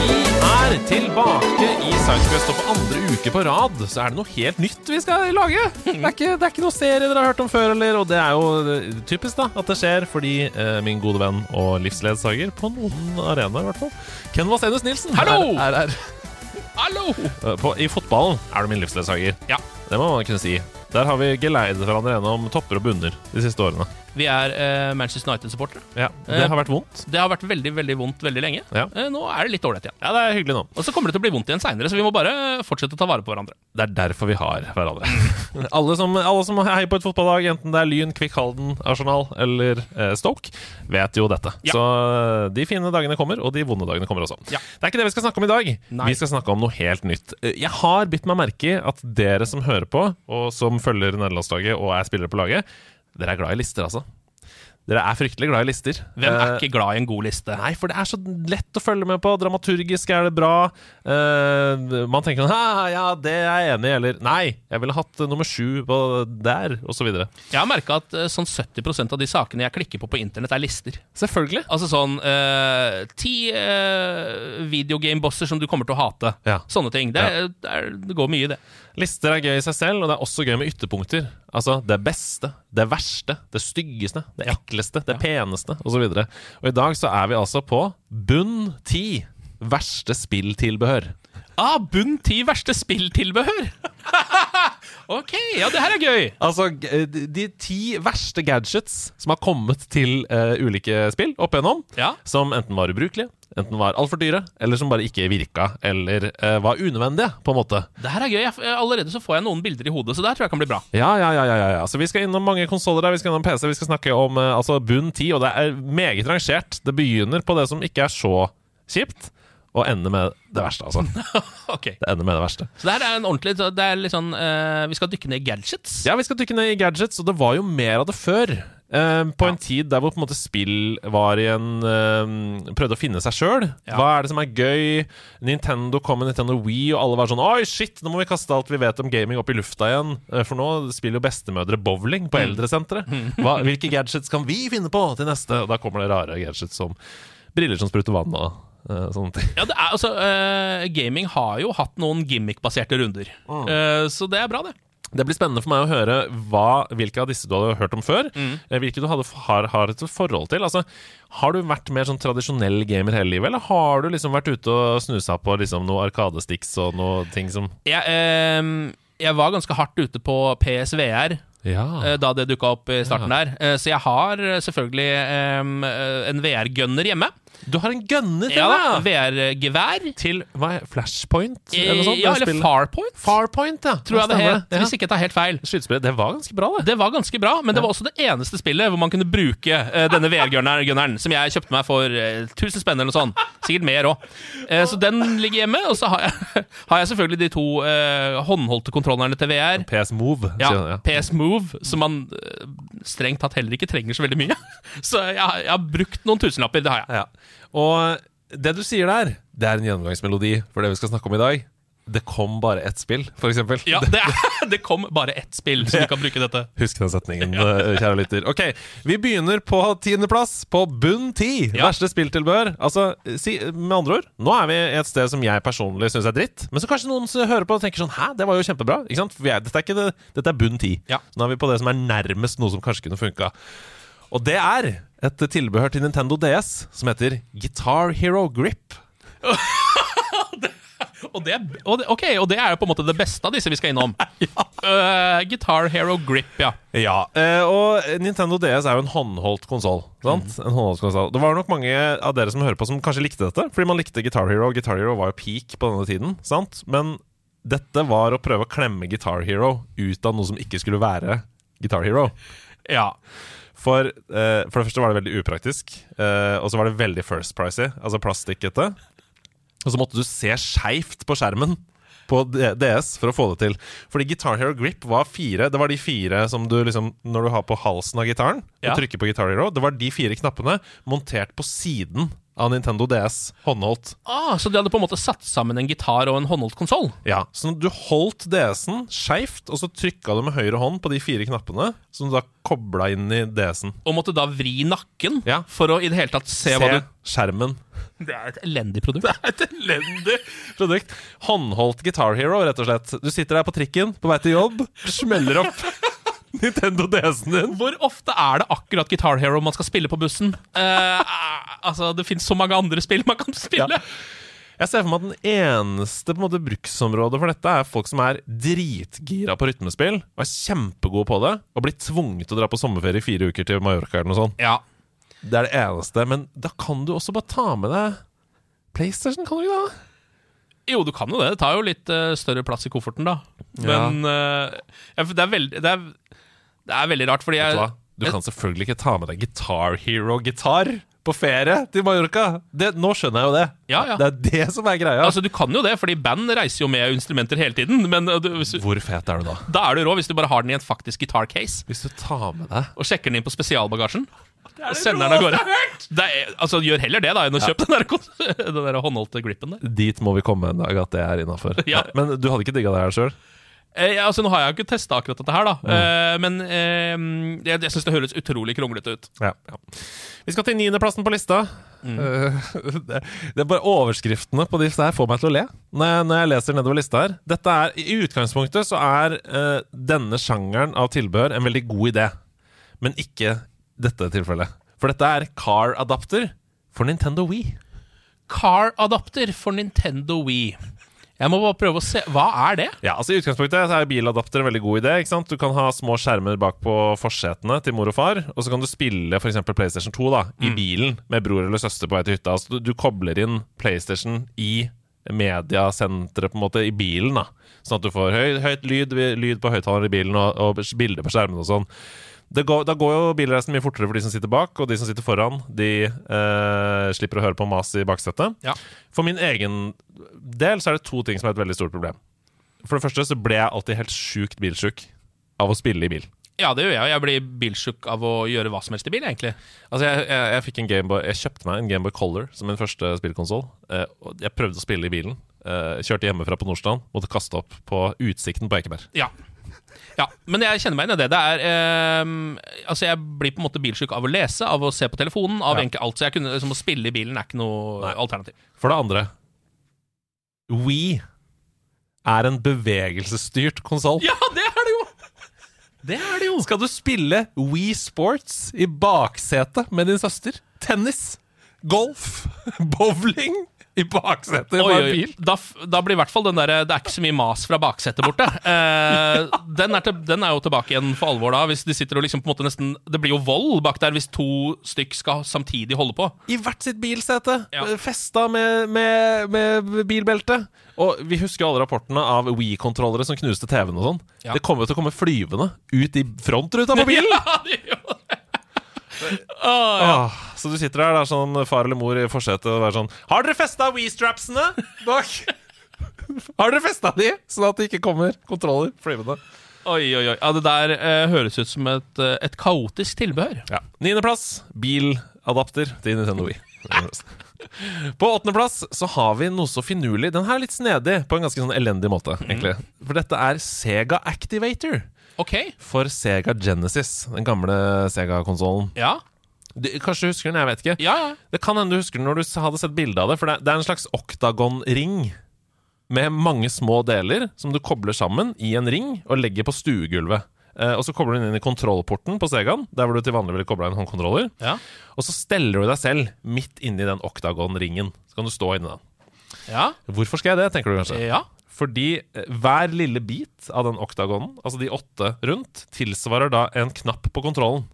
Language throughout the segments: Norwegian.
Vi er tilbake i Sidequest, og for andre uke på rad så er det noe helt nytt vi skal lage. Det er ikke, det er ikke noe serie dere har hørt om før, eller, og det er jo eh, typisk da at det skjer, fordi eh, min gode venn og livsledsager på noen arenaer, i hvert fall, Ken Vasenus Nilsen, Hallo! er, er, er Hallo! Eh, på, I fotballen er du min livsledsager. Ja. Det må man kunne si. Der har vi geleidet hverandre gjennom topper og bunner de siste årene. Vi er eh, Manchester United-supportere. Ja, Det Eh. har vært vondt. Det har vært veldig veldig vondt veldig lenge. Ja. Eh, nå er det litt ålreit igjen. Ja, det er hyggelig nå. Og så kommer det til å bli vondt igjen seinere, så vi må bare fortsette å ta vare på hverandre. Det er derfor vi har hverandre. alle, som, alle som heier på et fotballag, enten det er Lyn, Kvikk Halden, Arsenal eller eh, Stoke, vet jo dette. Ja. Så eh, de fine dagene kommer, og de vonde dagene kommer også. Ja. Det er ikke det vi skal snakke om i dag. Nei. Vi skal snakke om noe helt nytt. Eh, Jeg har bitt meg merke i at dere som hører på, og som følger nederlandslaget og er spillere på laget, dere er glad i lister, altså. Dere er fryktelig glad i lister. Hvem er Eh, ikke glad i en god liste? Nei, for det er så lett å følge med på. Dramaturgisk er det bra. Eh, man tenker sånn «Hæ, Ja, det er jeg enig i. Eller nei, jeg ville hatt eh, nummer sju på der, osv. Jeg har merka at eh, sånn 70 av de sakene jeg klikker på på internett, er lister. Selvfølgelig. Altså sånn eh, Ti eh, videogame-bosser som du kommer til å hate. Ja. Sånne ting. Det, er- det, er, det går mye i det. Lister er gøy i seg selv, og det er også gøy med ytterpunkter. Altså det beste, det verste, det styggeste, det ekleste, det peneste, osv. Og, og i dag så er vi altså på bunn ti verste spilltilbehør. Ah, bunn ti verste spilltilbehør! ok, ja, det her er gøy. Altså, g- eh, de de ti verste gadgets som har kommet til eh, ulike spill opp igjennom, Ja. som enten var ubrukelige, enten var altfor dyre, eller som bare ikke virka, eller eh, var unødvendige, på en måte. Det her er gøy. Jeg, allerede så får jeg noen bilder i hodet, så det her tror jeg kan bli bra. Ja, ja, ja, ja, ja, ja. Så vi skal innom mange konsoller der, vi skal innom PC, vi skal snakke om eh, altså bunn ti, og det er meget rangert. Det begynner på det som ikke er så kjipt, og ender med det verste, altså. Ok, Det ender med det verste. Så det her er en ordentlig så Det er litt sånn eh, Vi skal dykke ned i gadgets. Ja, vi skal dykke ned i gadgets, og det var jo mer av det før. Eh, på en tid der hvor på en måte spill var i en eh, Prøvde å finne seg sjøl. Ja. Hva er det som er gøy? Nintendo kom med Nintendo Wii, og alle var sånn Oi, shit, nå må vi kaste alt vi vet om gaming opp i lufta igjen. Eh, For nå spiller jo bestemødre bowling på eldresenteret. Hva- Hvilke gadgets kan vi finne på til neste? Og da kommer det rare gadgets som briller som spruter vann og eh, sånne ting. Ja, det er, altså, eh, gaming har jo hatt noen gimmick-baserte runder, Mm. Eh, så det er bra, det. Det blir spennende for meg å høre hva, hvilke av disse du hadde hørt om før. eh, Hvilke du hadde, har, har et forhold til. Altså, har du vært mer sånn tradisjonell gamer hele livet, eller har du liksom vært ute og snusa på liksom noe arkadesticks og noe ting som Jeg, eh, jeg var ganske hardt ute på PSVR eh, Ja. da det dukka opp i starten der, Eh, så jeg har eh, selvfølgelig eh, eh, en VR-gunner hjemme. Du har en gunner til, Ja da, deg! VR-gevær. Til hva er Flashpoint? Eh, Eller noe sånt? Ja, eller Farpoint, Farpoint, ja. tror jeg det stemmer het, hvis ikke jeg tar helt feil. Ja. Skytespillet, det var ganske bra, det. Det var ganske bra, men det var også det eneste spillet hvor man kunne bruke eh, denne VR-gunneren, som jeg kjøpte meg for eh, 1000 spenn eller noe sånt. Sikkert mer òg. så den ligger hjemme, og så har jeg, har jeg selvfølgelig de to eh, håndholdte kontrollerne til VR. PS Move. Ja, sier jeg, PS Move, som man eh, strengt tatt heller ikke trenger så veldig mye. Så jeg, har- jeg har brukt noen tusenlapper, det har jeg. Ja. Og det du sier der, det er en gjennomgangsmelodi for det vi skal snakke om i dag. Det kom bare ett spill, for eksempel. Ja, det, er, det kom bare ett spill som du kan bruke dette. Husk den setningen, eh, kjære lytter. Ok, Vi begynner på tiendeplass, på bunn ti. Ja. Verste spilltilbehør. Altså, si, med andre ord, nå er vi et sted som jeg personlig syns er dritt. Men så kanskje noen som hører på og tenker sånn Hæ, det var jo kjempebra. Ikke sant? For jeg, dette, er ikke det, dette er bunn ti. Ja. Nå er vi på det som er nærmest noe som kanskje kunne funka. Og det er et tilbehør til Nintendo DS som heter Guitar Hero Grip. Og det, er- og det, ok, og det er jo på en måte det beste av disse vi skal innom. Eh, Guitar Hero Grip, ja. Ja, eh, og Nintendo DS er jo en håndholdt konsoll. sant? En håndholdt konsoll. Det var nok mange av dere som hører på, som kanskje likte dette. Fordi man likte Guitar Hero, og Guitar Hero var jo peak på denne tiden. sant? Men dette var å prøve å klemme Guitar Hero ut av noe som ikke skulle være Guitar Hero. ja. For, eh, for det første var det veldig upraktisk, eh, og så var det veldig first pricy, altså plastikkete. Og så måtte du se skeivt på skjermen på D- DS for å få det til. Fordi Guitar Hero Grip var fire Det var de fire som du liksom Når du har på halsen av gitaren og Ja. trykker på Guitar Hero, det var de fire knappene montert på siden av Nintendo DS, håndholdt. Ah, så de hadde på en måte satt sammen en gitar og en håndholdt konsoll? Ja, Så du holdt DS-en skeivt, og så trykka du med høyre hånd på de fire knappene, som du da kobla inn i DS-en. Og måtte da vri nakken Ja. for å i det hele tatt se, Se hva du skjermen. Det er et elendig produkt. Det er et elendig Produkt. Håndholdt Guitar Hero, rett og slett. Du sitter der på trikken på vei til jobb, smeller opp Nintendo DS-en din. Hvor ofte er det akkurat Guitar Hero man skal spille på bussen? Eh, altså, Det fins så mange andre spill man kan spille. Ja. Jeg ser for meg at den eneste på en måte, bruksområdet for dette er folk som er dritgira på rytmespill, og er kjempegode på det, og blir tvunget til å dra på sommerferie i fire uker til Mallorca eller noe sånt. Ja. Det er det eneste. Men da kan du også bare ta med deg PlayStation, kan du ikke da? Jo, du kan jo det. Det tar jo litt eh, større plass i kofferten, da. Men eh, ja, for det, er veldig, det, er, det er veldig rart, fordi Vet jeg du hva? Du kan selvfølgelig ikke ta med deg Guitar Hero-gitar på ferie til Mallorca. Det, nå skjønner jeg jo det. Ja, ja. Det er det som er greia. Altså, Du kan jo det, fordi band reiser jo med instrumenter hele tiden. Men eh, du, hvis du, Hvor fet er du da? da er du rå hvis du bare har den i en faktisk gitarcase Hvis du tar med deg og sjekker den inn på spesialbagasjen. Og sender den av gårde. Det er, altså, gjør heller det da enn å kjøpe den der, kon- den der håndholdte gripen der. Dit må vi komme en dag, at det er innafor. Ja. Men du hadde ikke digga det her sjøl? Eh, ja, altså, nå har jeg jo ikke testa akkurat dette her, da. Eh, men eh, jeg, jeg syns det høres utrolig kronglete ut. Ja, ja. Vi skal til niendeplassen på lista. Eh, det, det er bare Overskriftene på disse her får meg til å le når jeg, når jeg leser nedover lista her. Dette er, I utgangspunktet så er eh, denne sjangeren av tilbehør en veldig god idé, men ikke dette tilfellet. For dette er car adapter for Nintendo Wii. Car-adapter for Nintendo Wii. Jeg må bare prøve å se Hva er det? Ja, altså I utgangspunktet så er biladapter en veldig god idé. ikke sant? Du kan ha små skjermer bak på forsetene til mor og far, og så kan du spille for eksempel PlayStation 2 da, i bilen med bror eller søster på vei til hytta. Altså, du, du kobler inn PlayStation i mediasenteret på en måte i bilen, da. sånn at du får høy, høyt lyd, lyd på høyttaleren i bilen og, og bilder på skjermene og sånn. Det går, da går jo bilreisen mye fortere for de som sitter bak, og de som sitter foran, de eh, slipper å høre på mas i baksetet. Ja. For min egen del så er det to ting som er et veldig stort problem. For det første så ble jeg alltid helt sjukt bilsjuk av å spille i bil. Ja, det gjør jeg. og Jeg blir bilsjuk av å gjøre hva som helst i bil, egentlig. Altså jeg, jeg, jeg, fikk en Gameboy, jeg kjøpte meg en Gameboy Color som min første spillkonsoll. Eh, og jeg prøvde å spille i bilen. Eh, kjørte hjemmefra på Nordstrand. Måtte kaste opp på utsikten på Ekeberg. Ja. ja. Men jeg kjenner meg igjen i det. Det er eh, Altså, jeg blir på en måte bilsjuk av å lese, av å se på telefonen, av Ja. egentlig alt. Så jeg kunne, liksom, å spille i bilen er ikke noe Nei. alternativ. For det andre We er en bevegelsesstyrt konsoll. Ja, det er det jo! Det er det jo! Skal du spille We Sports i baksetet med din søster? Tennis, golf, bowling i baksetet Oi, på en oi, bil? Da, f- da blir i hvert fall den derre 'det er ikke så mye mas fra baksetet' borte. Eh, den, er til, den er jo tilbake igjen for alvor da. Hvis de sitter og liksom på en måte nesten Det blir jo vold bak der hvis to stykk skal samtidig holde på. I hvert sitt bilsete, Ja. eh, festa med, med, med bilbelte. Og vi husker jo alle rapportene av We-kontrollere som knuste TV-en og sånn. Ja. Det kommer jo til å komme flyvende ut i frontruta på bilen! Ja, det gjør jo det. Åh, Åh, Ah, så du sitter der, det er sånn far eller mor i forsetet og er sånn Har dere festa We-strapsene bak? Har dere festa de, sånn at det ikke kommer kontroller flyvende? Oi, oi, oi. Ja, det der eh, høres ut som et, eh, et kaotisk tilbehør. Ja. Niendeplass biladapter til Nintendo Wii. På åttendeplass så har vi noe så finurlig. Den her er litt snedig på en ganske sånn elendig måte. egentlig For dette er Sega Activator Ok. for Sega Genesis. Den gamle Sega-konsollen. Ja. Kanskje du husker den? Jeg vet ikke. Ja, ja. Det kan hende du husker den når du s- hadde sett bilde av det. For det er- det er en slags oktagon-ring med mange små deler som du kobler sammen i en ring og legger på stuegulvet. Eh, og så kobler du den inn i kontrollporten på Segaen, der hvor du til vanlig ville kobla en håndkontroller. Ja. Og så steller du deg selv midt inni den oktagon-ringen. Så kan du stå inni den. Ja. Hvorfor skal jeg det, tenker du kanskje? ja. Fordi eh, hver lille bit av den oktagonen, altså de åtte rundt, tilsvarer da en knapp på kontrollen.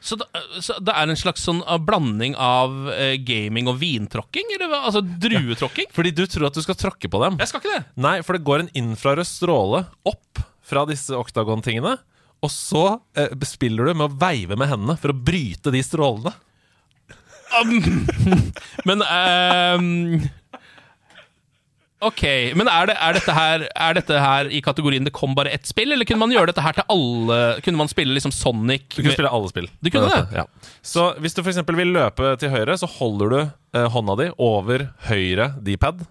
Så, det, så det er en slags sånn eh, blanding av eh, gaming og vintråkking? Eller hva? Altså druetråkking? Fordi du tror at du skal tråkke på dem. Jeg skal ikke det. Nei, for det går en infrarød stråle opp fra disse oktagon-tingene, og så eh, spiller du med å veive med hendene for å bryte de strålene. Um, men ehm, Ok, Men er, det, er, dette her, er dette her i kategorien det kom bare ett spill, eller kunne man gjøre dette her til alle Kunne man spille liksom Sonic? Du kunne med- spille alle spill. Du kunne med det? dette, Ja. Så hvis du f.eks. vil løpe til høyre, så holder du eh, hånda di over høyre D-pad.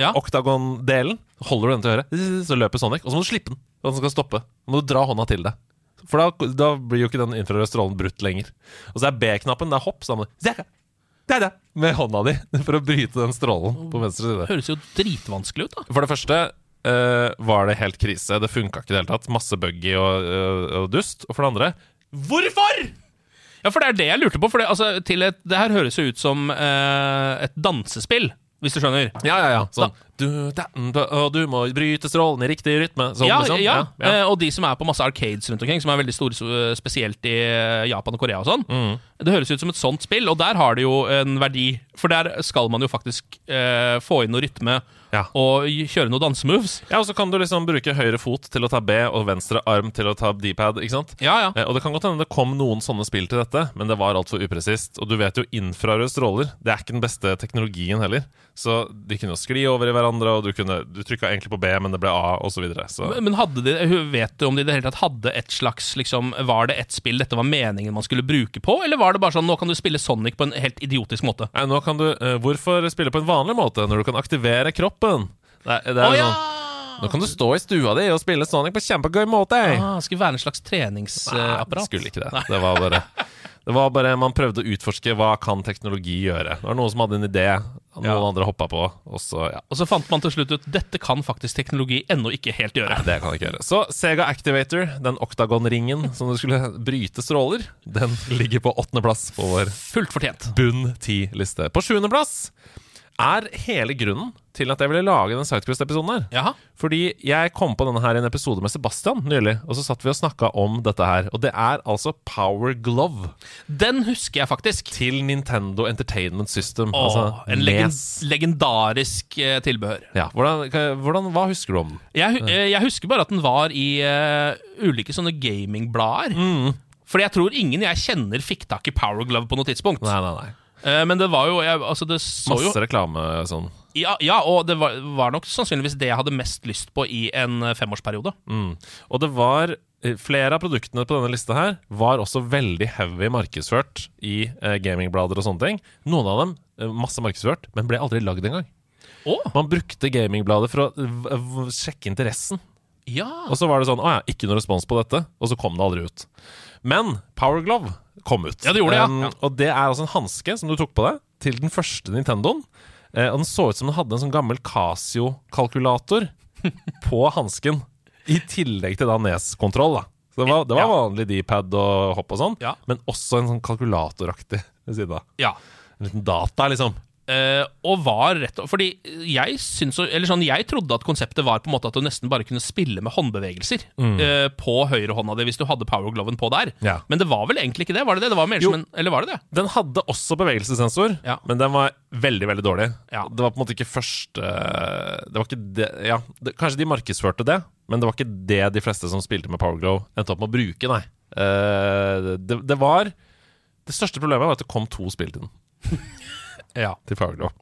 Ja. Oktagon-delen. Holder du den til høyre, så løper Sonic. Og så må du slippe den. Og den skal stoppe. Nå må du dra hånda til deg. For da, da blir jo ikke den infrarøde strålen brutt lenger. Og så er B-knappen, det er hopp, sammen med hånda di for å bryte den strålen på venstre side. Høres jo dritvanskelig ut, da. For det første eh, var det helt krise. Det funka ikke i det hele tatt. Masse buggy og, eh, og dust. Og for det andre Hvorfor?! Ja, for det er det jeg lurte på. For det, altså, til et, det her høres jo ut som eh, et dansespill, hvis du skjønner. Ja, ja, ja. Sånn du, da, da, Og du må bryte strålen i riktig rytme. Sånn, Ja, ja, liksom. ja. eh, Og de som er på masse arcades rundt omkring, som er veldig store, så- spesielt i eh, Japan og Korea og Mm. sånn. Det høres ut som et sånt spill, og der har det jo en verdi. For der skal man jo faktisk eh, få inn noe rytme Ja. og kjøre noen dansemoves. ja, og så kan du liksom bruke høyre fot til å ta B og venstre arm til å ta D-pad. ikke sant? Ja, ja. Eh, Og det kan godt hende det kom noen sånne spill til dette, men det var altfor upresist. Og du vet jo, infrarøde stråler det er ikke den beste teknologien heller. Så de kunne jo skli over i hverandre, og du, kunne- du trykka egentlig på B, men det ble A, osv. Så videre. så Eh, Men hadde de, hun vet du om de i det hele tatt hadde et slags liksom, Var det et spill dette var meningen man skulle bruke på, eller var det bare sånn nå kan du spille Sonic på en helt idiotisk måte? Nei, nå kan du, eh, hvorfor spille på en vanlig måte når du kan aktivere kroppen? Nei, det er Å, ja! sånn, nå kan du stå i stua di og spille Sonic på kjempegøy måte. Ah, skulle være en slags Nei, det treningsapparat. skulle ikke det. Det var bare, det var bare man prøvde å utforske hva kan teknologi gjøre. Det var noen som hadde en idé, og noen Ja. andre hoppa på, og så ja. Og så fant man til slutt ut dette kan faktisk teknologi ennå ikke helt gjøre. Nei, det kan jeg ikke gjøre. Så Sega Activator, den oktagonringen som du skulle bryte stråler, den ligger på åttendeplass på vår Fullt fortjent. bunn ti-liste. På sjuendeplass er hele grunnen til at jeg ville lage den Sidequest-episoden her. Jaha. Fordi jeg kom på denne her i en episode med Sebastian nylig, og så satt vi og snakka om dette her. Og det er altså Power Glove Den husker jeg faktisk. til Nintendo Entertainment System. Åh, altså en legen, NES. legendarisk eh, tilbehør. Ja, hvordan, hva- hvordan, Hva husker du om den? Jeg, hu- eh, jeg husker bare at den var i eh, ulike sånne gamingblader. Fordi jeg tror ingen jeg kjenner fikk tak i Power Glove på noe tidspunkt. Nei, nei, nei. Eh, men det var jo jeg, Altså, det så jo Masse reklame sånn. Ja, ja og det var, var nok sannsynligvis det jeg hadde mest lyst på i en eh, femårsperiode. Mm. Og det var eh, Flere av produktene på denne lista her var også veldig heavy markedsført i eh, gamingblader og sånne ting. Noen av dem eh, masse markedsført, men ble aldri lagd engang. Åh, Man brukte gamingblader for å eh, v- sjekke interessen. ja. Og så var det sånn Å ja, ikke noe respons på dette. Og så kom det aldri ut. Men Power Glove kom ut. Ja, det gjorde det, ja. Um, Ja. og det er altså en hanske som du tok på deg til den første Nintendoen. Eh, og den så ut som den hadde en sånn gammel Casio-kalkulator på hansken. I tillegg til da Nes-kontroll, da. Så det var, det var vanlig D-pad og hopp og sånn, Ja. men også en sånn kalkulatoraktig ved siden av. ja. En liten data, liksom. Eh, og var rett og Fordi jeg syns jo- Eller sånn, jeg trodde at konseptet var på en måte at du nesten bare kunne spille med håndbevegelser eh, på høyrehånda di hvis du hadde powergloven på der. Ja. Men det var vel egentlig ikke det? Var det det? Det var mer Jo. som en Eller var det det? Den hadde også bevegelsessensor, Ja. men den var veldig veldig dårlig. Ja. Det var på en måte ikke første det var ikke det, ja, det, Kanskje de markedsførte det, men det var ikke det de fleste som spilte med Power Glow, endte opp med å bruke, nei. Eh, det, det var Det største problemet var at det kom to spill til den. Ja. Til Power Glow.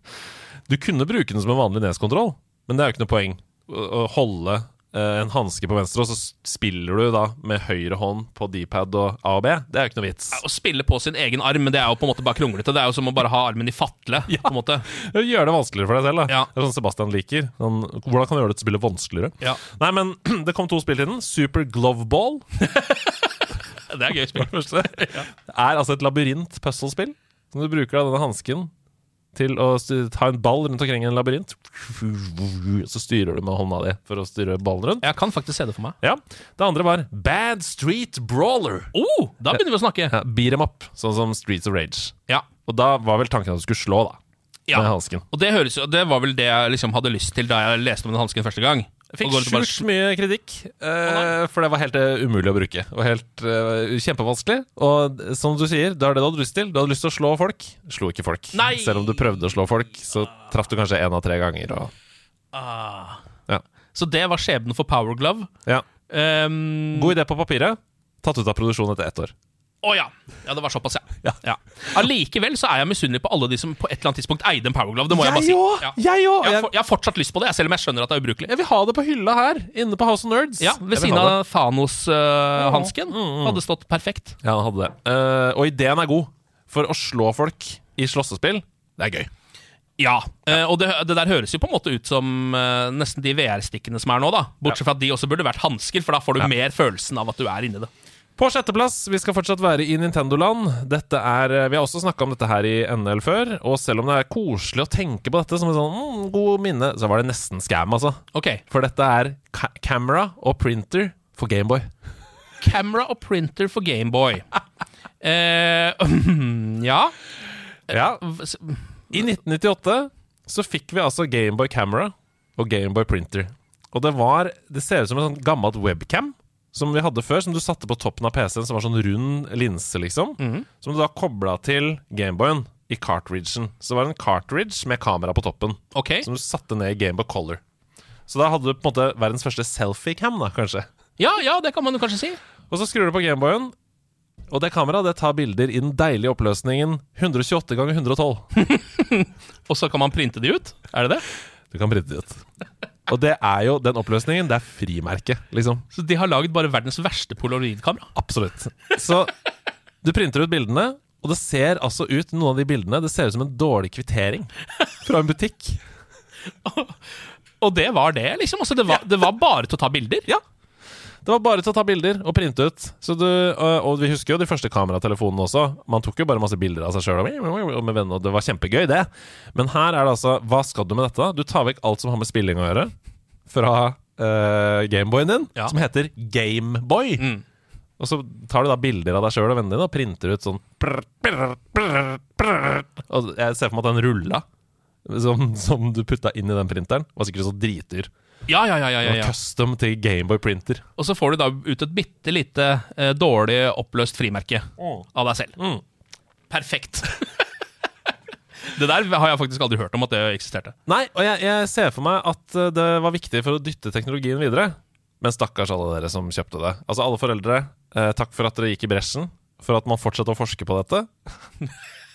Du kunne bruke den som en vanlig neskontroll, men det er jo ikke noe poeng å, å holde eh, en hanske på venstre, og så spiller du da med høyre hånd på D-pad og A og B. Det er jo ikke noe vits. Å spille på sin egen arm, men det er jo på en måte bare kronglete. Det er jo som å bare ha armen i fatle. På en måte. Gjør det vanskeligere for deg selv. da Ja. Det er sånn Sebastian liker. Han, hvordan kan du gjøre dette spillet vanskeligere? Ja. Nei, men Det kom to spill til den. Super Glove Ball Det er gøy spill. første, er altså et labyrint-puzzlespill. Som du bruker da denne hansken til å styr- ta en ball rundt omkring en labyrint. Så styrer du med hånda di for å styre ballen rundt. Jeg kan faktisk se det for meg. Ja, Det andre var Bad Street Brawler. Oh, da begynner vi å snakke. Ja, Beat em up, sånn som Streets of Rage. Ja. Og da var vel tanken at du skulle slå, da. ja. Med hansken. Og det, høres, jo- det var vel det jeg liksom hadde lyst til da jeg leste om den hansken første gang. Å Fikk gå rundt og bare- sjukt mye kritikk, eh, for det var helt eh, umulig å bruke. Og helt eh, kjempevanskelig. Og eh, som du sier, det er det du hadde lyst til. Du hadde lyst til å slå folk. Slo ikke folk. Nei! Selv om du prøvde å slå folk, så traff du kanskje én av tre ganger. Og, Ah. ja. Så det var skjebnen for Power Glove. Ja. Ehm, God idé på papiret. Tatt ut av produksjon etter ett år. Å ja. ja! Det var såpass, ja. ja. Allikevel så er jeg misunnelig på alle de som på et eller annet tidspunkt eide en Power Glove. Det må jeg, bare Jeg si. òg! Ja. Jeg òg! Jeg, har, Jeg, for- jeg har fortsatt lyst på det, selv om jeg skjønner at det er ubrukelig. jeg vil ha det på hylla her, inne på House of Nerds. Ja, Jeg Ved vil siden ha det. Mm, av Thanos-hansken hadde stått perfekt. Ja, han hadde det. Eh, og ideen er god, for å slå folk i slåssespill, det er gøy. Ja, eh, og det, det der høres jo på en måte ut som eh, nesten de VR-stikkene som er nå, da. Bortsett fra at de også burde vært hansker, for da får du mer følelsen av at du er inni det. På sjetteplass, vi skal fortsatt være i Nintendo-land. Dette er, eh, Vi har også snakka om dette her i NL før, og selv om det er koselig å tenke på dette som en sånn mm, god minne, så var det nesten scam, altså. Ok, For dette er ca camera og printer for Gameboy. Camera og printer for Gameboy. Eh, ja Ja. V- s- I 1998 så fikk vi altså Gameboy Camera og Gameboy Printer. Og det var Det ser ut som en sånn gammelt webcam som vi hadde før, som du satte på toppen av PC-en, som var sånn rund linse, liksom. Som du da kobla til Gameboyen i cartridgen. Så det var en cartridge med kamera på toppen, Ok. som du satte ned i Gameboy Color. Så da hadde du på en måte verdens første selfie-cam, da, kanskje. Ja, ja, det kan man jo kanskje si. Og så skrur du på Gameboyen, og det kameraet det tar bilder i den deilige oppløsningen 128 ganger 112. Og så kan man printe de ut. Er det det? Du kan printe det ut. Og det er jo den oppløsningen. Det er frimerket, liksom. Så de har lagd bare verdens verste polaroidkamera. Absolutt. Så du printer ut bildene, og det ser altså ut noen av de bildene Det ser ut som en dårlig kvittering fra en butikk. Og det var det, liksom. Altså, det, var, det var bare til å ta bilder. Ja. Det var bare til å ta bilder og printe ut. Så du, og og vi husker jo de første kameratelefonene også. Man tok jo bare masse bilder av seg sjøl og og med venner, og det var kjempegøy, det. Men her er det altså Hva skal du med dette? da? Du tar vekk alt som har med spilling å gjøre, fra eh, Gameboyen din, Ja. som heter Gameboy. Mm. Og så tar du da bilder av deg sjøl og vennene dine og printer ut sånn prr, prr, prr, prr. Og jeg ser for meg at den rulla som, som du putta inn i den printeren, var sikkert så dritdyr. Ja, ja, ja, ja, ja, Den var ja. Custom til Gameboy printer. Og så får du da ut et bitte lite eh, dårlig oppløst frimerke av deg selv. Mm. Perfekt. det der har jeg faktisk aldri hørt om at det eksisterte. Nei, og jeg, jeg ser for meg at eh, det var viktig for å dytte teknologien videre. Men stakkars alle dere som kjøpte det. Altså alle foreldre, eh, takk for at dere gikk i bresjen. For at man fortsetter å forske på dette.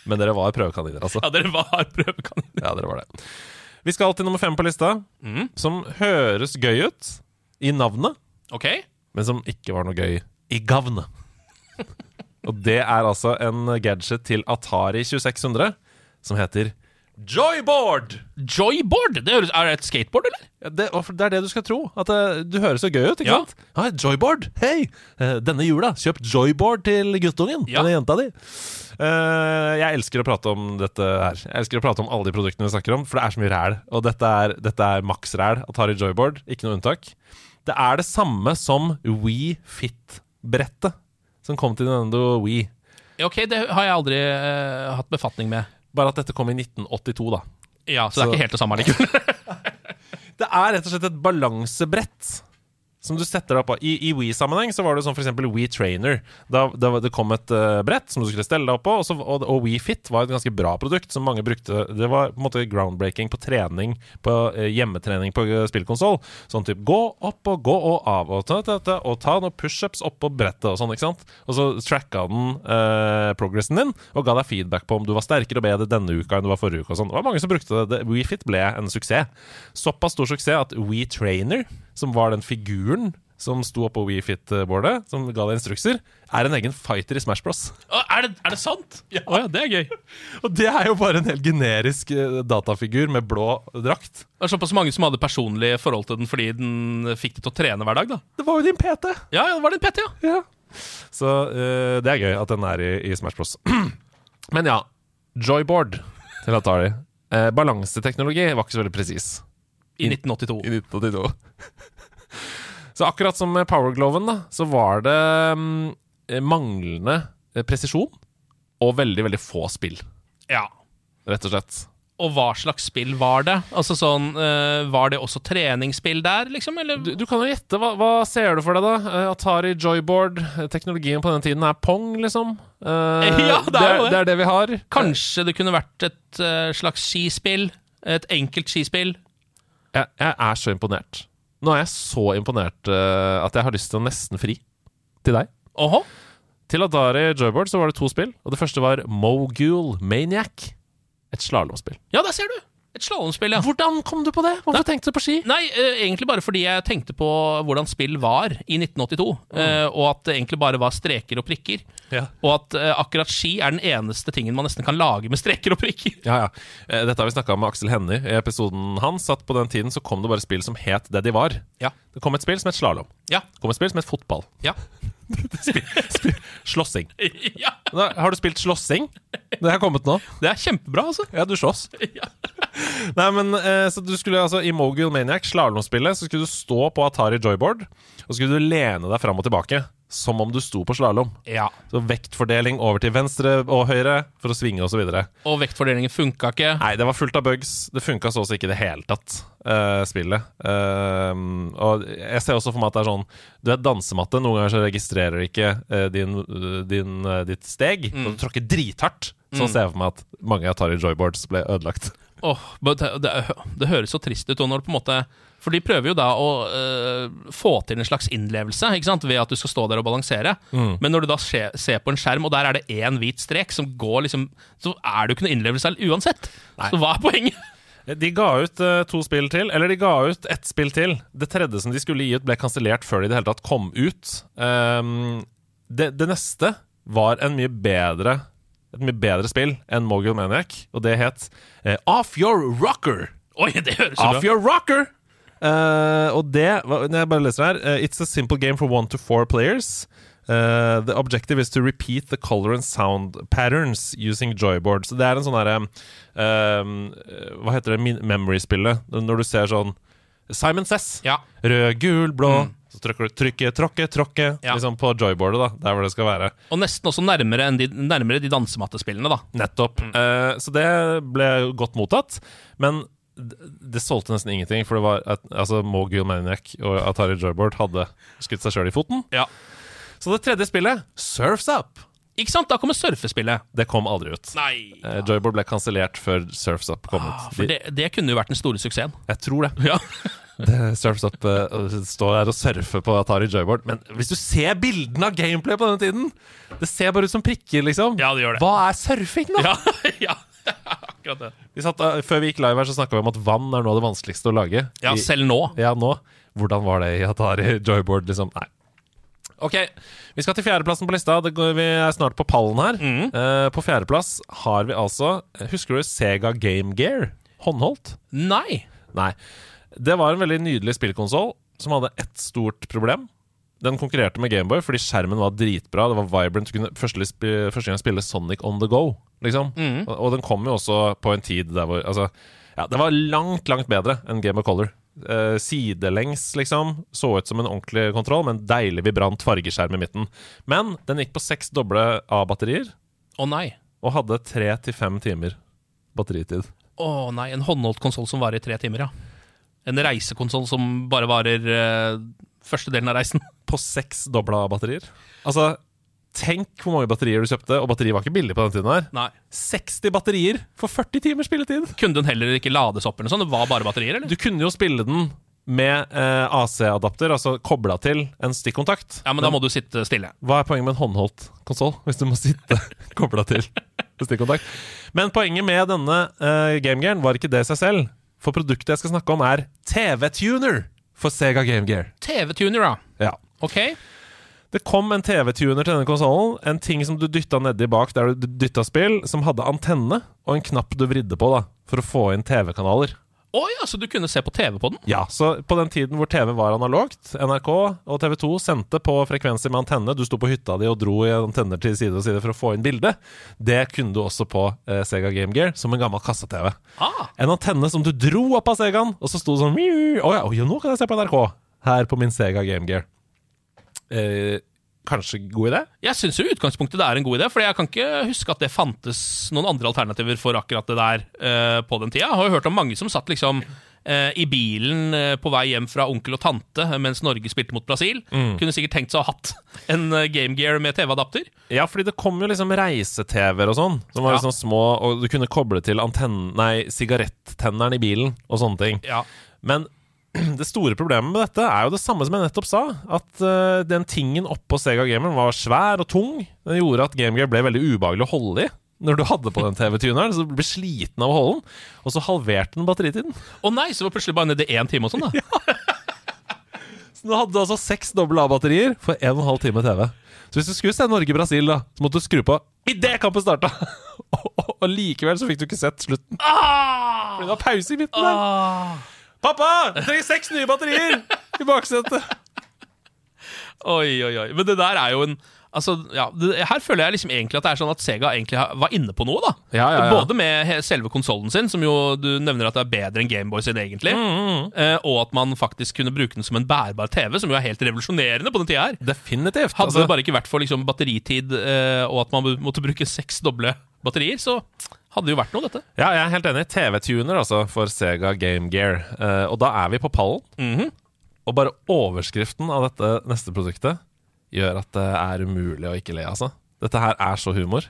Men dere var prøvekaniner, altså. Ja, dere var prøvekaniner. Ja, dere var det. Vi skal til nummer fem på lista, Mm, som høres gøy ut i navnet, Ok? men som ikke var noe gøy i gavnet. Og det er altså en gadget til Atari 2600 som heter Joyboard! Joyboard! Det høres, er det et skateboard, eller? Ja, Det, og for det er det du skal tro. At eh, Du høres så gøy ut, ikke Ja. sant? Ja, joyboard! Hei! Eh, denne jula, kjøp joyboard til guttungen. Ja. Eller jenta di. Eh, jeg elsker å prate om dette her. Jeg elsker å prate om alle de produktene vi snakker om, for det er så mye ræl. Og dette er, dette er maks ræl. Atari joyboard, ikke noe unntak. Det er det samme som Wii Fit-brettet som kom til Nintendo Wii. Ok, det har jeg aldri eh, hatt befatning med. Bare at dette kom i 1982, da. Ja, Så, det er Så- ikke helt det samme likevel. Det er rett og slett et balansebrett som du setter deg på. I, i We-sammenheng så var det sånn for eksempel We Trainer. Da, da var- det kom et eh, brett som du skulle stelle deg opp på, og, så, og, og We Fit var et ganske bra produkt som mange brukte. Det var på en måte groundbreaking på trening, på eh, hjemmetrening på uh, spillkonsoll. Sånn type gå opp og gå og av og ta, ta, ta, og ta noen pushups oppå brettet og sånn, ikke sant. Og så tracka den eh, progressen din og ga deg feedback på om du var sterkere og bedre denne uka enn du var forrige uke og sånn. Det var mange som brukte det. det. WeFit ble en suksess. Såpass stor suksess at WeTrainer, som var den figuren som sto oppå WeFit-bordet, som ga deg instrukser, er en egen fighter i Smash Bros. Å, er, det, er det sant? Å ja. det er gøy. Det Og det er jo bare en helt generisk eh, datafigur med blå drakt. var såpass mange som hadde personlig forhold til den fordi den fikk det til å trene hver dag, da. Det var jo din PT! Ja, ja, det var det en PT, ja. Ja. Så eh, det er gøy at den er i, i Smash Bros. Men ja, joyboard til Atari. Uh, balanseteknologi var ikke så veldig presis. I 1982. 1982. så akkurat som med powergloven, da, så var det mm, eh, manglende eh, presisjon og veldig, veldig få spill, Ja. rett og slett. Og hva slags spill var det? Altså sånn, eh, Var det også treningsspill der, liksom? Eller? Du, du kan jo gjette. Hva, hva ser du for deg, da? Eh, Atari joyboard. eh, Teknologien på den tiden er pong, liksom. Eh, Ja, det er jo det. det er det vi har. Kanskje det kunne vært et eh, slags skispill? Et enkelt skispill? jeg, jeg er så imponert. Nå er jeg så imponert eh, at jeg har lyst til å nesten fri til deg. Åhå? Til Atari Joyboard så var det to spill, og det første var Mogul Maniac. Et slalåmspill. Ja, der ser du! Et slalåmspill, ja. Hvordan kom du på det? Hvorfor tenkte du på ski? Nei, eh, egentlig bare fordi jeg tenkte på hvordan spill var i 1982, eh, og at det egentlig bare var streker og prikker. Ja. Og at eh, akkurat ski er den eneste tingen man nesten kan lage med streker og prikker. Ja, ja. Eh, Dette har vi snakka med Aksel Hennie i episoden hans. At på den tiden så kom det bare spill som het det de var. Ja. Det kom et spill som het slalåm. Ja. Det kom et spill som het fotball. Ja. Slåssing. ja. Da, har du spilt slåssing? Det har kommet nå. Det er kjempebra, altså. Ja, du slåss. Ja. Nei, men eh, så du skulle altså I Mogul Maniac, slalåmspillet, så skulle du stå på Atari joyboard, og skulle du lene deg fram og tilbake. Som om du sto på slalåm. Ja. Så vektfordeling over til venstre og høyre for å svinge osv. Nei, Og vektfordelingen funka ikke. det var fullt av bugs. Det funka så å si ikke i det hele tatt, eh, spillet. Eh, og jeg ser også for meg at det er sånn Du er dansematte. Noen ganger så registrerer du ikke eh, din, eh, din, eh, ditt steg, og du tråkker drithardt. Så ser jeg for meg at mange Atari joyboards ble ødelagt. Åh, men det, det, det høres så trist ut. Og når det på en måte For de prøver jo da å øh, få til en slags innlevelse ikke sant? ved at du skal stå der og balansere. Men når du da se, ser på en skjerm, og der er det én hvit strek som går liksom Så er det jo ikke noe innlevelse all- uansett. Så hva er poenget? De ga ut eh, to spill til, eller de ga ut ett spill til. Det tredje som de skulle gi ut, ble kansellert før de i det hele tatt kom ut. Ehm, det, det neste var en mye bedre et mye bedre spill enn Mogul Maniac, og det het eh, Off Your Rocker. Oi, det høres jo Off bra ut. Your Rocker! Eh, og det var- Når jeg bare leser her eh, It's a simple game for one to four players. Eh, the objective is to repeat the color and sound patterns using joyboard. Så det er en sånn herre Hva heter det Min- memory-spillet? Når du ser sånn Simon Says. Ja. Rød, gul, blå. Så trykker du trykke, tråkke, tråkke. Ja. Liksom på joyboardet, da. Der hvor det skal være. Og nesten også nærmere, enn de, nærmere de dansemattespillene, da. Nettopp. Mm. Eh, så det ble godt mottatt. Men d- det solgte nesten ingenting, for det var at, altså, Mogul Maniac og Atari Joyboard hadde skutt seg sjøl i foten. Ja. Så det tredje spillet, Surfs Up, Ikke sant? Da kommer surfespillet. det kom aldri ut. Nei. Ah, Eh, Joyboard ble kansellert før Surfs Up kom ut. For De, det, det kunne jo vært den store suksessen. jeg tror det. Ja. det surfs Up eh, og står her og surfer på Atari Joyboard. Men hvis du ser bildene av gameplay på denne tiden, det ser bare ut som prikker, liksom. Ja, det gjør det. Hva er surfing, da? ja. ja. Akkurat det. Vi satt, eh, før vi gikk live her, så snakka vi om at vann er noe av det vanskeligste å lage. Ja, I- selv nå. Ja, nå. Hvordan var det i Atari Joyboard, liksom? Nei. Ok, vi skal til fjerdeplassen på lista. Det går, vi er snart på pallen her. Eh, på fjerdeplass har vi altså Husker du Sega Game Gear? Håndholdt? Nei. Nei. Det var en veldig nydelig spillkonsoll som hadde ett stort problem. Den konkurrerte med Gameboy fordi skjermen var dritbra. Det var vibrant. Du kunne første, sp- første gang spille Sonic on the go. Liksom. Og, og den kom jo også på en tid der hvor altså, ja, Det var langt, langt bedre enn Game of Color. Eh, sidelengs, liksom. Så ut som en ordentlig kontroll, men deilig vibrant fargeskjerm i midten. Men den gikk på seks doble A-batterier Å nei. og hadde tre til fem timer batteritid. Å nei, en håndholdt konsoll som varer i tre timer, ja. En reisekonsoll som bare varer eh, første delen av reisen. på seks dobla batterier. Altså, tenk hvor mange batterier du kjøpte, og batteriet var ikke billig på den tiden her. Nei. 60 batterier for 40 timers spilletid! Kunne den heller ikke lades opp eller noe sånt? Det var bare batterier, eller? Du kunne jo spille den med eh, AC-adapter, altså kobla til en stikkontakt. Ja, men da må du sitte stille. Hva er poenget med en håndholdt konsoll, hvis du må sitte kobla til en stikkontakt? Men poenget med denne eh, GameGearen var ikke det i seg selv. For produktet jeg skal snakke om, er TV-tuner for Sega GameGear. TV-tuner, da. Ja. Ok. Det kom en TV-tuner til denne konsollen. En ting som du dytta nedi bak der du dytta spill, som hadde antenne og en knapp du vridde på da, for å få inn TV-kanaler. Å ja, så du kunne se på TV på den? Ja, Så på den tiden hvor TV var analogt, NRK og TV 2 sendte på frekvenser med antenne, du sto på hytta di og dro i antenner til side og side for å få inn bilde, det kunne du også på eh, Sega Game Gear som en gammel kasse-TV. Ah, En antenne som du dro opp av Segaen, og så sto det sånn «Miu». Å ja, å ja, nå kan jeg se på NRK! Her på min Sega Game Gear. Eh, kanskje god idé? jeg syns jo i utgangspunktet det er en god idé, for jeg kan ikke huske at det fantes noen andre alternativer for akkurat det der eh, på den tida. Jeg har jo hørt om mange som satt liksom eh, i bilen eh, på vei hjem fra onkel og tante eh, mens Norge spilte mot Brasil. Kunne sikkert tenkt seg å ha hatt en eh, Game Gear med TV-adapter. Ja, fordi det kom jo liksom reise-TV-er og sånn. Som var Ja. liksom små, og du kunne koble til antennen, nei, sigarettenneren i bilen og sånne ting. Ja. Men det store problemet med dette er jo det samme som jeg nettopp sa. At eh, den tingen oppå Sega Gameren var svær og tung. Den gjorde at Game Gear ble veldig ubehagelig å holde i. Når du hadde på den TV-tuneren, så du ble sliten av å holde den. Og så halverte den batteritiden. Å nei, så var plutselig bare nede i én time og sånn, da. Så du hadde altså seks dobbel A-batterier for en og en halv time TV. Så hvis du skulle se Norge-Brasil, da, så måtte du skru på idet kampen starta! og, og, og likevel så fikk du ikke sett slutten. Ah! For det var pause i midten der. Ah! Pappa! Jeg trenger seks nye batterier i baksetet! Oi, oi, oi. Men det der er jo en Altså, ja, det, Her føler jeg liksom egentlig at det er sånn at Sega egentlig har- var inne på noe. da Ja, ja, ja. Både med he- selve konsollen sin, som jo du nevner at det er bedre enn Gameboy sin, egentlig. Mm, eh, og at man faktisk kunne bruke den som en bærbar TV, som jo er helt revolusjonerende på den tida her. Definitivt. Hadde altså. det bare ikke vært for liksom batteritid eh, og at man måtte bruke seks doble batterier, så hadde det jo vært noe, dette. Ja, jeg er helt enig. TV-tuner altså for Sega Game Gear. Eh, og da er vi på pallen. Og bare overskriften av dette neste produktet gjør at det er umulig å ikke le, altså. Dette her er så humor.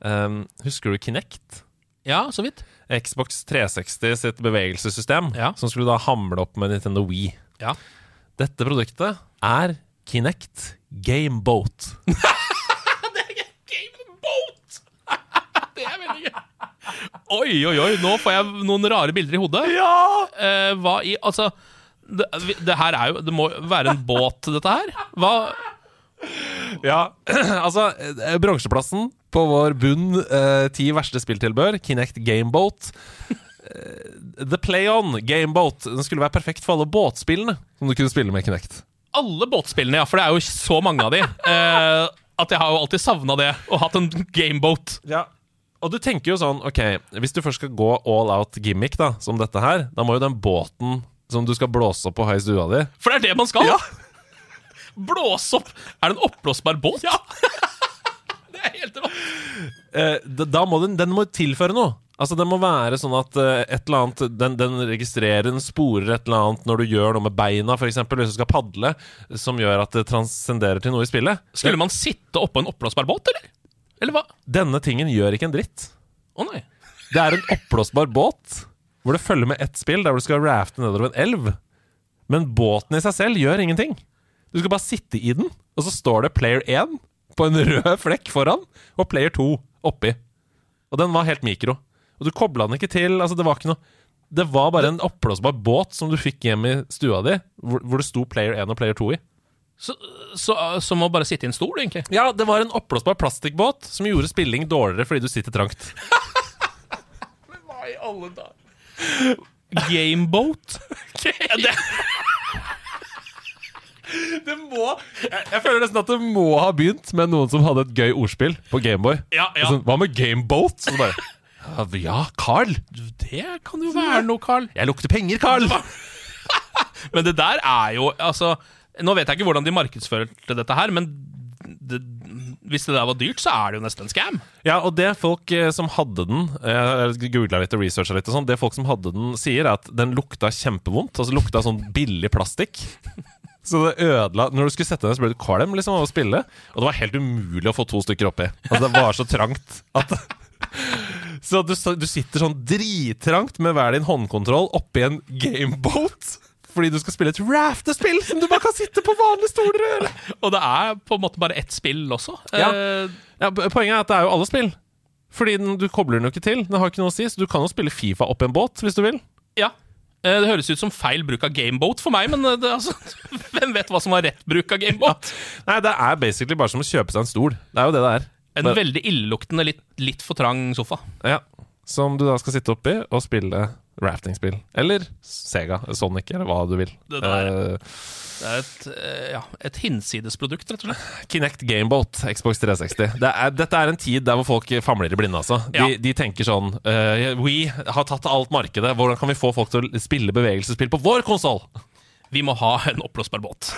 Um, husker du Kinect? Ja, så vidt. Xbox 360 sitt bevegelsessystem, Ja. som skulle da hamle opp med Nintendo Wii. Ja. Dette produktet er Kinect Gameboat. Gameboat! det er veldig gøy. Oi, oi, oi, nå får jeg noen rare bilder i hodet. Ja! Eh, hva i Altså, det, vi- det her er jo Det må være en båt, dette her? Hva Ja, altså eh, Bransjeplassen på vår bunn eh, ti verste spilltilbør, Kinect Gameboat. Eh, The Play On Gameboat. Den skulle være perfekt for alle båtspillene som du kunne spille med Kinect. Alle båtspillene, ja, for det er jo så mange av de. Eh, at jeg har jo alltid savna det, og hatt en gameboat. Ja og du tenker jo sånn, ok, hvis du først skal gå all out gimmick da, som dette her, da må jo den båten som du skal blåse opp på høy stua di For det er det man skal. Blåse opp Er det en oppblåsbar båt? Ja! det er helt rått. eh, da, da må den, den må tilføre noe. Altså, den må være sånn at eh, et eller annet, den, den registrerer, den sporer et eller annet når du gjør noe med beina, f.eks. hvis du skal padle, som gjør at det transcenderer til noe i spillet. Skulle man sitte oppå en oppblåsbar båt, eller? Eller hva? Denne tingen gjør ikke en dritt. Å nei. Det er en oppblåsbar båt hvor det følger med ett spill der hvor du skal rafte nedover en elv. Men båten i seg selv gjør ingenting. Du skal bare sitte i den, og så står det player 1 på en rød flekk foran, og player 2 oppi. Og den var helt mikro. Og du kobla den ikke til. altså Det var ikke noe Det var bare en oppblåsbar båt som du fikk hjem i stua di, hvor, hvor det sto player 1 og player 2 i. Så, så, så må bare sitte i en stol, egentlig. Ja, det var en oppblåsbar plastikkbåt som gjorde spilling dårligere fordi du sitter trangt. Hva i alle dager? Gameboat? Ja, det, Det må jeg, jeg føler nesten at det må ha begynt med noen som hadde et gøy ordspill på Gameboy. Ja, ja. Sånn, Hva med Gameboat? Så bare Ja, Carl. det kan jo være noe, Carl. Jeg lukter penger, Carl. Men det der er jo Altså, nå vet jeg ikke hvordan de markedsførte dette her, men det, hvis det der var dyrt, så er det jo nesten en scam. Ja, og det folk eh, som hadde den eh, Jeg googla litt og researcha litt og sånn. Det folk som hadde den, sier, er at den lukta kjempevondt. Altså lukta sånn billig plastikk. Så det ødela Når du skulle sette deg ned, så ble du kvalm liksom, av å spille. Og det var helt umulig å få to stykker oppi. Altså, det var så trangt at Så du, s- du sitter sånn drittrangt med hver din håndkontroll oppi en gameboat. Fordi du skal spille et raftespill som du bare kan sitte på vanlige stoler og gjøre. Og det er på en måte bare ett spill også. Ja. Eh, Ja, po- Poenget er at det er jo alle spill. Fordi den, du kobler den jo ikke til. Den har ikke noe å si, så du kan jo spille Fifa opp i en båt hvis du vil. ja. Eh, Det høres ut som feil bruk av gameboat for meg, men eh, det, altså, hvem vet hva som var rett bruk av gameboat? Nei, det er basically bare som å kjøpe seg en stol. Det er jo det det er. En Bare- veldig illeluktende, litt, litt for trang sofa. ja. Som du da skal sitte oppi og spille raftingspill. Eller Sega, Sonic, eller hva du vil. Det der. Eh, Det er et, eh, ja, et hinsidesprodukt, rett og slett. Kinect Gameboat, Xbox 360. Det er, dette er en tid der hvor folk famler i blinde, altså. De, Ja. de tenker sånn eh, We har tatt alt markedet. Hvordan kan vi få folk til å spille bevegelsesspill på vår konsoll? Vi må ha en oppblåsbar båt.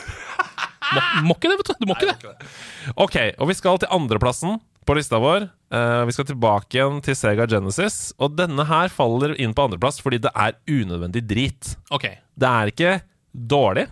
Må, må ikke det, vet du. Du må ikke det. Ok, og vi skal til andreplassen på lista vår. Eh, vi skal tilbake igjen til Sega Genesis. Og denne her faller inn på andreplass fordi det er unødvendig drit. Ok. Det er ikke dårlig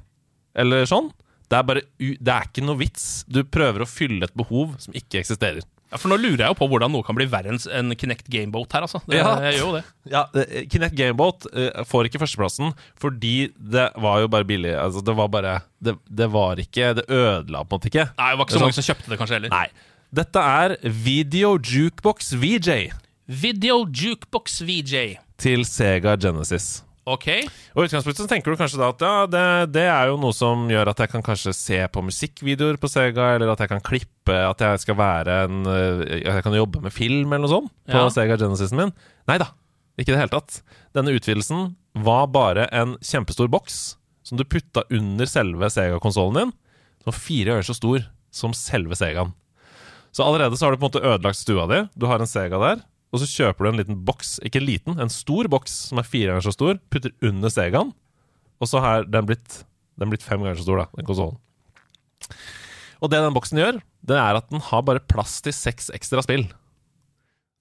eller sånn. Det er bare u det er ikke noe vits. Du prøver å fylle et behov som ikke eksisterer. Ja, for nå lurer jeg jo på hvordan noe kan bli verre enn en Kinect Gameboat her, altså. Det, Ja. Jeg gjør jo det. Ja, eh, Kinect Gameboat eh, får ikke førsteplassen fordi det var jo bare billig. Altså, det var bare Det, det var ikke Det ødela på en måte ikke. Nei, det var ikke så mange som kjøpte det, kanskje, heller. Nei. Dette er Video Jukebox VJ Video Jukebox VJ. til Sega Genesis. Ok. Og i utgangspunktet så tenker du kanskje da at ja, det, det er jo noe som gjør at jeg kan kanskje se på musikkvideoer på Sega, eller at jeg kan klippe, at jeg skal være en øh, At jeg kan jobbe med film eller noe sånt på Ja. Sega Genesisen min. Nei da, ikke i det hele tatt. Denne utvidelsen var bare en kjempestor boks som du putta under selve Sega-konsollen din, som var fire øyer så stor som selve Segaen. Så allerede så har du på en måte ødelagt stua di. Du har en Sega der. Og så kjøper du en liten boks, ikke en liten, en stor boks som er fire ganger så stor, putter under Segaen, og så har den blitt, den blitt fem ganger så stor, da, den konsollen. Og det den boksen gjør, det er at den har bare plass til seks ekstra spill.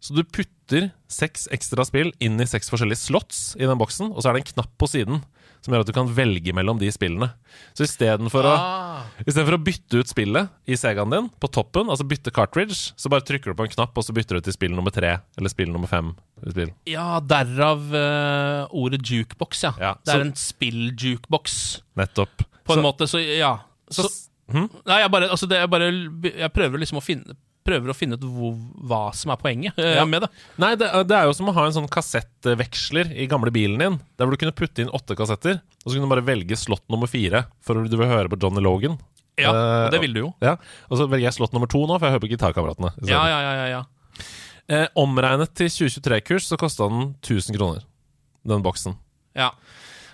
Så du putter seks ekstra spill inn i seks forskjellige slots i den boksen, og så er det en knapp på siden som gjør at du kan velge mellom de spillene. Så istedenfor å Ah. Istedenfor å bytte ut spillet i Segaen din på toppen, altså bytte cartridge, så bare trykker du på en knapp, og så bytter du til spill nummer tre eller spill nummer fem. eller Spill. Ja, derav eh, ordet jukebox, ja. Ja, Det så- er en spill-jukebox, Nettopp. på en Så- måte, så ja. Så, så- hm? nei, jeg bare, altså det, jeg bare Jeg prøver liksom å finne Prøver å finne ut hvor, hva som er poenget eh, Ja. med det. Nei, det, er- det er jo som å ha en sånn kassettveksler i gamle bilen din, der hvor du kunne putte inn åtte kassetter, og så kunne du bare velge slott nummer fire for du vil høre på Johnny Logan. Ja, Eh, og det vil du jo. Ja, Og så velger jeg slott nummer to nå, for jeg hører på Gitarkameratene. i stedet. Ja, ja, ja, ja, ja. Eh, omregnet til 2023-kurs så kosta den 1000 kroner, den boksen. ja.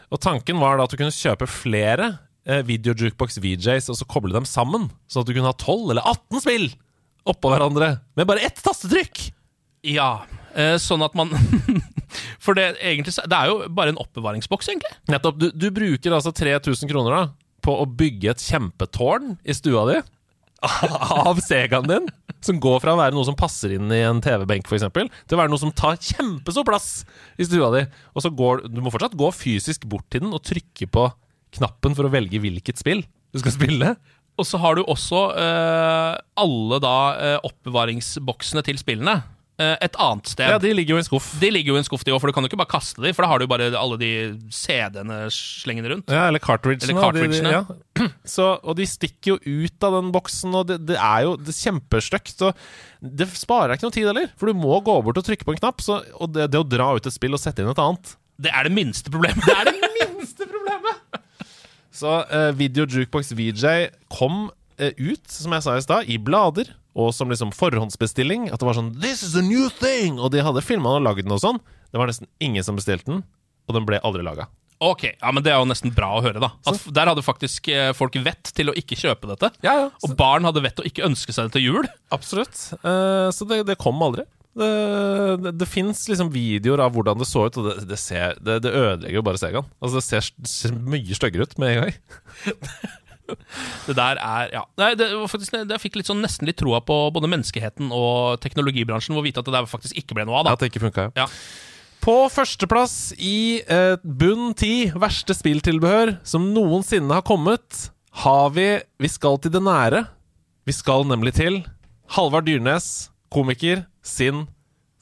Og tanken var da at du kunne kjøpe flere eh, Video Jukebox VJs og så koble dem sammen, sånn at du kunne ha 12 eller 18 spill oppå hverandre med bare ett tastetrykk! ja. Eh, sånn at man For det, egentlig, så- det er jo bare en oppbevaringsboks, egentlig. Nettopp. Du, du bruker altså 3000 kroner da på å bygge et kjempetårn i stua di av Segaen din, som går fra å være noe som passer inn i en TV-benk, f.eks., til å være noe som tar kjempestor plass i stua di. Og så går du må fortsatt gå fysisk bort til den og trykke på knappen for å velge hvilket spill du skal spille. Og så har du også eh, alle da eh, oppbevaringsboksene til spillene eh, et annet sted. Ja, de... de ligger jo i en skuff. ligger jo i en skuff, de òg, for du kan jo ikke bare kaste de, for da har du jo bare alle de CD-ene slengende rundt. Ja, eller cartridgene. Eller da. De- cartridgene. De, ja. så, og de stikker jo ut av den boksen, og det, det er jo det er kjempestygt. Og det sparer deg ikke noe tid heller, for du må gå bort og trykke på en knapp. Så, og det, det å dra ut et spill og sette inn et annet Det er det minste problemet. Det er det minste problemet! Så eh, Video Jukebox VJ kom eh, ut, som jeg sa i stad, i blader. Og som liksom forhåndsbestilling. At det var sånn 'This is a new thing!' Og de hadde filma den og lagd den og sånn. Det var nesten ingen som bestilte den, og den ble aldri laga. Ok, ja, men Det er jo nesten bra å høre, da. At f- der hadde faktisk eh, folk vett til å ikke kjøpe dette. Ja, ja. Og barn hadde vett til å ikke ønske seg det til jul. Absolutt. Eh, så det, det kom aldri. Det, det, det fins liksom videoer av hvordan det så ut, og det, det, ser, det, det ødelegger jo bare Segaen. Altså, det ser, det ser mye styggere ut med en gang. Det der er, ja Nei, det var faktisk, det, Jeg fikk litt sånn, nesten litt troa på både menneskeheten og teknologibransjen, hvor vite at det der faktisk ikke ble noe av. da At det ikke funka, Ja. På førsteplass i eh, bunn ti verste spilltilbehør som noensinne har kommet, har vi Vi skal til det nære. Vi skal nemlig til Halvard Dyrnes, komiker, sin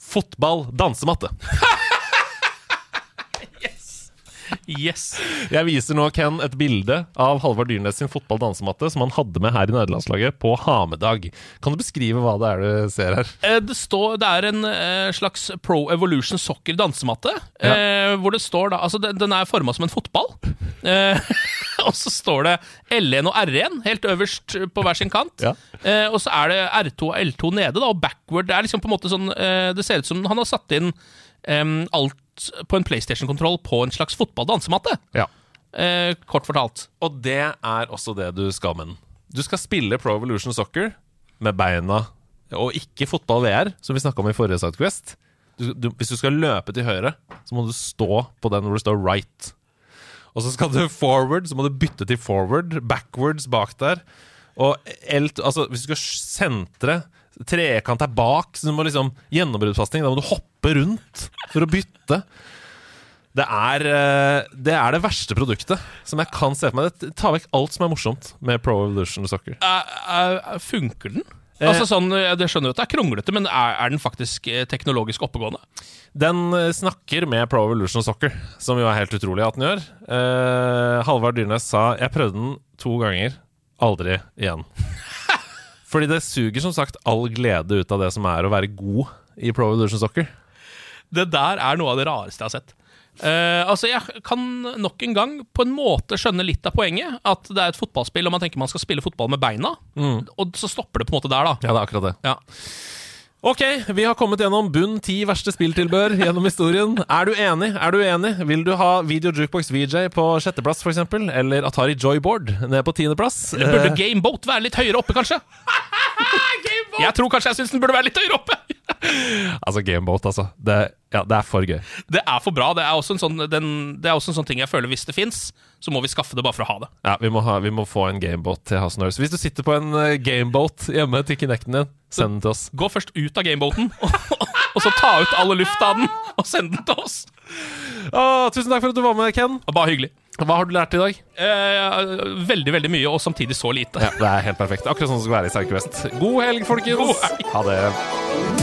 fotball-dansematte. Yes Jeg viser nå Ken et bilde av Halvard Dyrnes sin fotball-dansematte som han hadde med her i nederlandslaget på Hamedag. Kan du beskrive hva det er du ser her? Eh, Det, står, det er en eh, slags Pro Evolution Soccer dansematte. eh, Hvor det står da Altså, den, den er forma som en fotball. Eh, og så står det L1 og R1 helt øverst på hver sin kant. Ja. Eh, og så er det R2 og L2 nede, da, og backward. Det er liksom på en måte sånn eh, Det ser ut som han har satt inn em, alt på en PlayStation-kontroll på en slags fotball-dansematte. Ja. Eh, kort fortalt. Og det er også det du skal med den. Du skal spille Pro Evolution Soccer med beina, og ikke fotball-VR, som vi snakka om i forrige Sidequest. Du, du, hvis du skal løpe til høyre, så må du stå på den hvor det står right. Og så skal du forward, så må du bytte til forward. Backwards bak der. Og elt, altså, hvis du skal sentre Trekant er bak, så du må liksom gjennombruddpasning. Da må du hoppe rundt for å bytte. Det er, eh, det er det verste produktet som jeg kan se for meg. Det tar vekk alt som er morsomt med Pro Evolution Soccer. Eh, eh, funker den? Altså sånn, eh, Jeg skjønner jo at det er kronglete, men er, er den faktisk eh, teknologisk oppegående? Den eh, snakker med Pro Evolution Soccer, som jo er helt utrolig at den gjør. Eh, Halvard Dyrnes sa 'jeg prøvde den to ganger, aldri igjen'. Fordi det suger som sagt all glede ut av det som er å være god i Pro Evolution Soccer. Det der er noe av det rareste jeg har sett. Eh, altså, Jeg kan nok en gang på en måte skjønne litt av poenget. At det er et fotballspill, og man tenker man skal spille fotball med beina. Og så stopper det på en måte der, da. Ja, det er akkurat det. Ja. Ok, vi har kommet gjennom bunn ti verste spilltilbør gjennom historien. Er du enig? Er du enig? Vil du ha Video Jukebox VJ på sjetteplass, f.eks.? Eller Atari Joyboard ned på tiendeplass? Eller burde Gameboat være litt høyere oppe, kanskje? jeg tror kanskje jeg syns den burde være litt høyere oppe! Altså Gameboat, altså. Det, ja, det er for gøy. Det er for bra. Det er også en sånn, den, det er også en sånn ting jeg føler hvis det fins, så må vi skaffe det bare for å ha det. Ja, vi må, ha, vi må få en gameboat til House Nerves. Hvis du sitter på en eh, gameboat hjemme til Kinecten din, send den til oss. Gå først ut av gameboaten, og, og så ta ut alle lufta av den, og send den til oss. Å, tusen takk for at du var med, Ken. Og bare hyggelig. Hva har du lært i dag? Eh, veldig, veldig mye, og samtidig så lite. Ja, Det er helt perfekt. Akkurat sånn det skal være i Sarkvest. God helg, folkens. God helg. Ha det.